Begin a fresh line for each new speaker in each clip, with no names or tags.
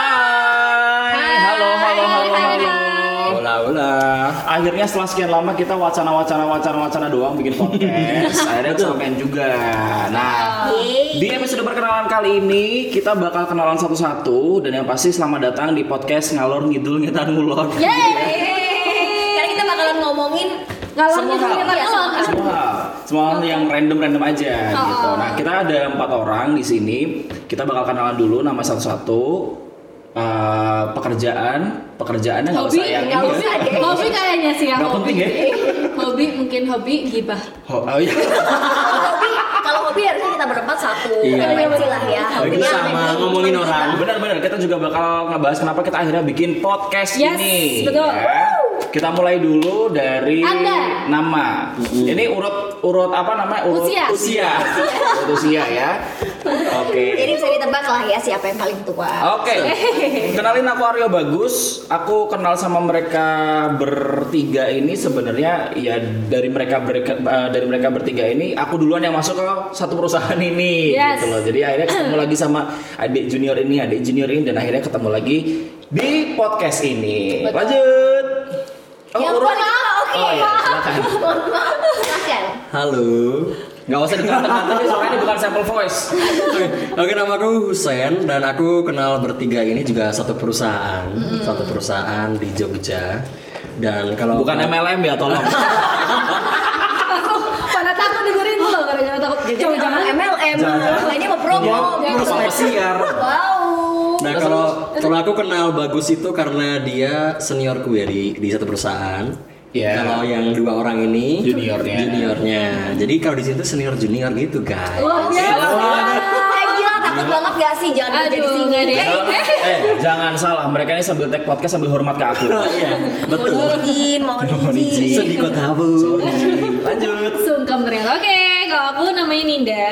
Hai, halo, halo, halo,
hai,
halo.
hai.
Hola, hola. Akhirnya setelah sekian lama kita wacana-wacana wacana-wacana doang bikin podcast. Akhirnya kesampaian juga. Nah,
Yeay.
di episode perkenalan kali ini kita bakal kenalan satu-satu dan yang pasti selamat datang di podcast ngalor ngidul ngetan ngulon.
Yeay. Karena kita bakalan ngomongin
ngalor
Semua
ngidul
hal.
ngetan
Iya,
ngulon.
semua hal.
semua hal semua hal yang random random aja
Oh,
gitu nah kita ada empat orang di sini kita bakal kenalan dulu nama satu satu pekerjaan pekerjaannya nggak
hobi
usah yang
nggak
ini
usah
ya.
deh. hobi kayaknya sih ya
Nggak
hobi
penting ya.
hobi mungkin hobi gibah
Ho- oh iya
Kalau hobi, kalau hobi harusnya kita berempat satu
Iya.
frekuensi lah ya.
Hobi
Hobinya
sama
hobi.
ngomongin orang.
benar-benar kita juga bakal ngebahas kenapa kita akhirnya bikin podcast
Yes,
ini
betul.
ya. kita mulai dulu dari
Anda.
nama ini urut urut apa namanya urut
Usia.
usia urut usia ya oke
Jadi bisa ditebak lah ya siapa yang paling tua.
Oke, kenalin aku Aryo Bagus. Aku kenal sama mereka bertiga ini sebenarnya ya dari mereka berka- eh, dari mereka bertiga ini aku duluan yang masuk ke satu perusahaan ini
Yes.
gitu loh. Jadi akhirnya ketemu lagi sama adik junior ini, adik junior ini dan akhirnya ketemu lagi di podcast ini. Lanjut. Oh,
Yang
urut.
paling tua, oke.
Oh iya, silakan.
Mohon maaf, silakan.
Halo.
Nggak usah ditantang-tantang soalnya ini bukan sample voice.
Oke, nama aku Husen dan aku kenal bertiga ini juga satu perusahaan, satu perusahaan di Jogja. Dan kalau
Bukan MLM ya, tolong.
pada takut dengerin tuh gara-gara takut
Jangan jangan Iya, MLM, lainnya mau promo.
Mau sama siar.
Wow.
Nah, kalau kalau aku kenal Bagus itu karena dia seniorku ya di di satu perusahaan.
Iya.
Kalau yang dua orang ini
Juniornya.
Juniornya. Jadi kalau di situ senior junior gitu, guys.
luar biasa
Eh gila takut banget gak sih jangan kerja di
aduh
sini.
nggak deh
eh jangan salah mereka ini sambil tag podcast sambil hormat ke aku
Iya, betul.
Mohon izin, mohon izin.
Iya.
Sedih kota bu.
lanjut
sungkem ternyata oke kalau aku namanya Ninda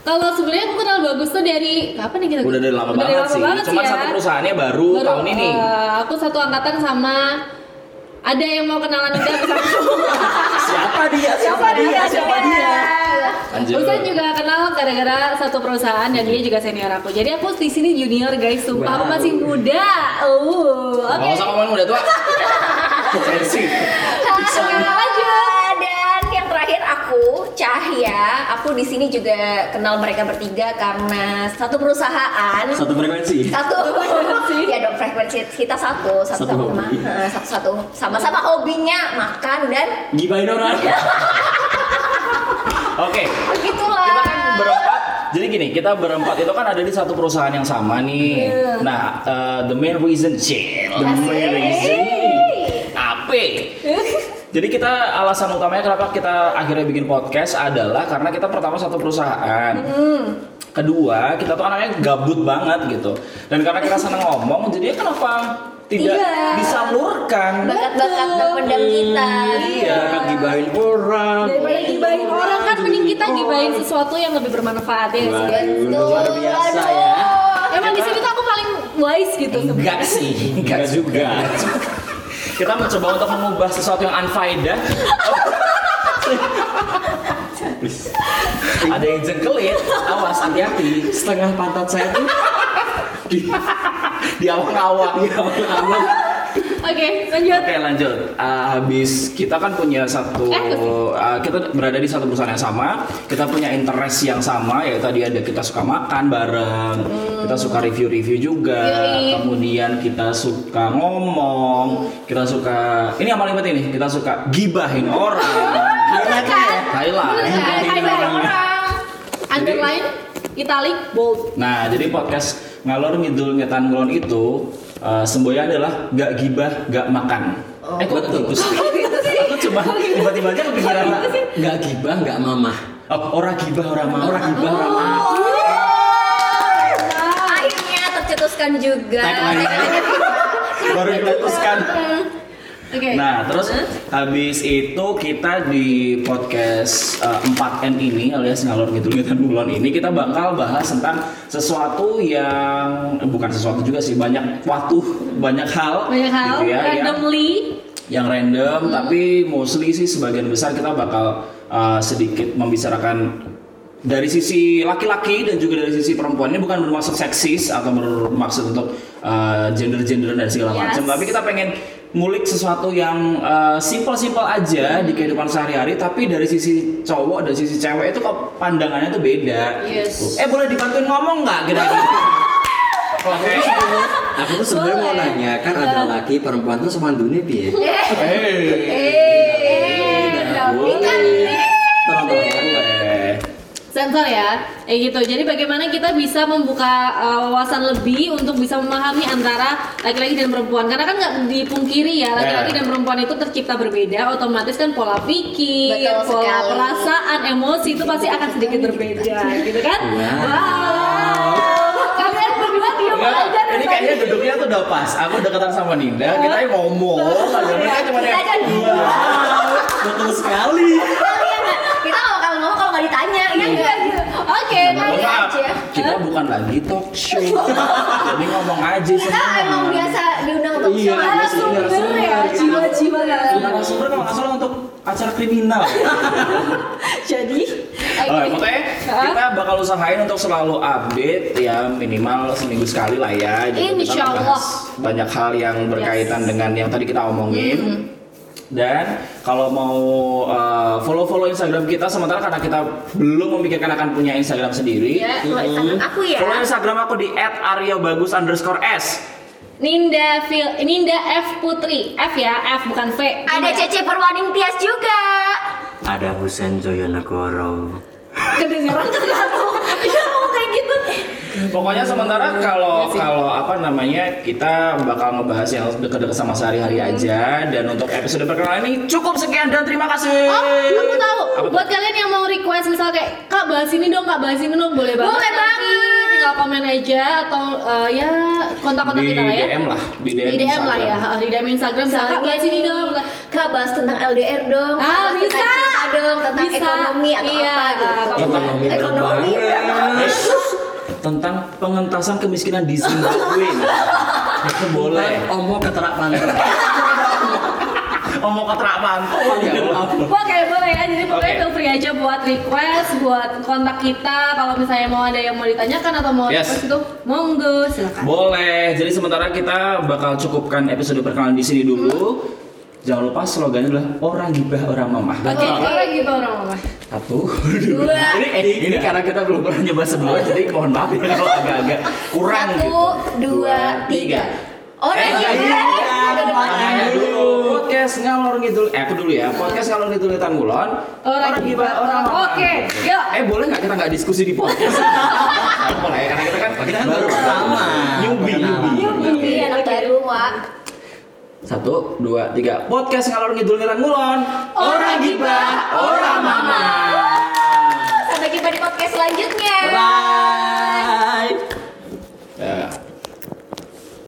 kalau sebenarnya aku kenal bagus tuh dari kapan nih kita
udah dari lama
Udah dari
banget sih cuma
ya.
satu perusahaannya baru,
Baru,
tahun ini
eh, aku satu angkatan sama ada yang mau kenalan Ninda bisa
siapa dia
siapa dia siapa dia
Lanjut.
Usan juga kenal gara-gara satu perusahaan dan dia juga senior aku jadi aku di sini junior guys sumpah aku
Wow.
masih muda uh oke
nggak usah ngomongin udah tua sensi
Nah, Dan yang terakhir aku Cahya, aku di sini juga kenal mereka bertiga karena satu perusahaan.
Satu frekuensi.
Satu ya dong frekuensi kita satu, satu,
Satu
sama
hobi.
eh, satu, satu sama-sama hobinya makan dan
Gibain orang.
oke kita kan
begitulah.
berempat jadi gini kita berempat itu kan ada di satu perusahaan yang sama nih nah eh, the main reason shit the main reason apa Jadi kita alasan utamanya kenapa kita akhirnya bikin podcast adalah karena kita pertama satu perusahaan. Kedua, kita tuh anaknya gabut banget gitu. Dan karena kita senang ngomong, jadi kenapa tidak
Iya.
disalurkan?
Bakat-bakat berpendam kita.
Iya, gibain orang.
daripada gibain orang kan mending kita gibain sesuatu yang lebih bermanfaat ya nggak sih?
Waduh,
Betul.
luar biasa
aduh.
ya.
emang di sini tuh aku paling wise gitu sebenarnya
Enggak sih, enggak
Enggak
juga.
juga.
Kita mencoba untuk mengubah sesuatu yang unfaedah. Ada yang jengkelit, awas hati-hati.
Setengah pantat saya tuh
Di awak-awak.
oke lanjut
Oke lanjut. Ah, habis kita kan punya satu,
Eh,
ah, kita berada di satu perusahaan yang sama, kita punya interest yang sama, ya tadi ada kita suka makan bareng, kita suka review-review juga,
Hmm. Yoi.
kemudian kita suka ngomong, kita suka ini yang paling penting nih, kita suka gibahin orang. Iya,
Bener kan?
Highlight.
Bener kan? Highlight orang. Underline, italic, bold.
Nah, jadi podcast ngalor ngidul ngetan ngulon itu eh, semboyan adalah gak gibah, gak makan. eh, kok
betul.
gitu sih? Aku cuma tiba-tiba aja
Oh,
kepikiran
nggak gibah, nggak mamah.
Oh, orang gibah, orang mau.
Orang gibah, orang mamah.
Akhirnya tercetuskan
gitu.
juga.
Tagline.
Baru diputuskan.
Oke.
Nah, terus habis itu kita di podcast eh, 4N ini alias ngalor gitu gitu bulan ini kita bakal bahas tentang sesuatu yang eh, bukan sesuatu juga sih, banyak waktu, banyak hal
Banyak hal
gitu ya, yang-
randomly.
yang random tapi mostly sih sebagian besar kita bakal uh, sedikit membicarakan dari sisi laki-laki dan juga dari sisi perempuan ini bukan bermaksud seksis atau bermaksud untuk uh, gender-gender dan segala
Yes.
macam tapi kita pengen mulik sesuatu yang uh, simple-simple aja di kehidupan sehari-hari tapi dari sisi cowok dan sisi cewek itu kok pandangannya tuh beda
Yes.
eh boleh dibantuin ngomong nggak kira-kira Oke.
Aku tuh sebenarnya mau
Boleh.
nanya kan ada laki perempuan tuh sama dunia piye?
Eh,
Boleh. Tonton-tonton gue.
sensor ya eh gitu jadi bagaimana kita bisa membuka uh, wawasan lebih untuk bisa memahami antara laki-laki dan perempuan karena kan nggak dipungkiri ya laki-laki
Eh.
dan perempuan itu tercipta berbeda otomatis kan pola pikir pola
Betul sekali. Iya.
perasaan emosi itu pasti akan sedikit berbeda gitu kan
Iya.
Wow.
wow kalian berdua diam
Iya,
Enggak,
aja dari
Iya, ini kayaknya
tadi.
duduknya tuh udah pas. Aku deketan sama Ninda, kita yang ngomong. Kalau mereka cuma yang
Kita Oh.
Iya.
aja dulu.
Betul sekali.
Kita nggak bakal ngomong kalau nggak ditanya, ya nggak?
oke
Mohon
Ini
maaf,
aja.
kita bukan lagi talk show. Jadi ngomong aja
Kita emang biasa diundang untuk
Iya,
show.
biasa diundang.
Langsung.
bener ya jiwa-jiwa
Kita narasumber kalau nggak salah untuk acara kriminal.
jadi
Oh, pokoknya kita bakal usahain untuk selalu update ya minimal seminggu sekali lah ya. Jadi kita
Insya
ngebahas
Allah.
Banyak hal yang berkaitan dengan yang tadi kita omongin.
Mm-hmm.
Dan kalau mau uh, follow-follow Instagram kita sementara karena kita belum memikirkan akan punya Instagram sendiri.
Ya, kalau Instagram aku
Iya.
ya.
Follow Instagram aku di @aryabagus underscore s.
Ninda Fil Ninda F Putri F ya F bukan V
Ada
Ninda
Cece Perwaning Tias juga.
Ada Husen Joyonegoro.
kedengeran tergantung ya mau kayak gitu
Pokoknya sementara
Iya
kalau kalau apa namanya kita bakal ngebahas yang dekat-dekat sama sehari-hari
Hmm.
aja dan untuk episode perkenalan ini cukup sekian dan terima kasih.
oh aku tahu
Apa tuh?
buat kalian yang mau request misal kayak kak bahas ini dong kak bahas ini dong boleh banget
Boleh
nanti.
banget.
tinggal komen aja atau eh, ya kontak-kontak
di
kita lah ya
DM lah, di DM,
di DM lah ya
Instagram.
di DM Instagram misal kak bahas ini dong
Kak bahas tentang LDR dong.
Ah,
Kak, bahas
bisa.
tentang cinta dong, tentang
Bisa.
ekonomi atau
Iya,
apa gitu.
kalau-
Ekonomi
Ekonomi
banget.
banget.
Tentang pengentasan kemiskinan di Zimbabwe. Itu boleh.
Omo keterak pantai. Oh,
Omong keterak mantap.
Ya Allah.
Oke boleh ya, jadi pokoknya
Oke.
feel free aja buat request, buat kontak kita kalau misalnya mau ada yang mau ditanyakan atau mau
Yes.
request itu monggo silakan.
Boleh. Jadi sementara kita bakal cukupkan episode perkenalan di sini dulu.
Hmm.
Jangan lupa slogannya adalah orang gibah orang mamah.
Oke, orang gitu orang apa?
Satu, dua. Ini, ini karena kita belum pernah nyoba sebelumnya, jadi mohon maaf ya kalau agak-agak kurang gitu.
Satu, dua, tiga. iya. Orang
Eh, Iya,
gila.
Tangannya dulu. Podcast ngalor ngidul, eh aku dulu ya. Podcast ngalor ngidul Tanggulan.
Orang gibah orang mamah. Oke, yuk.
Eh boleh nggak kita nggak diskusi di podcast? Nggak Boleh ya, karena kita kan
Kita kan baru pertama.
Newbie,
Perkenalan.
newbie.
Iya, anak baru, Wak.
Satu, dua, tiga. Podcast ngalor ngidul Tanggulan.
Orang gibah,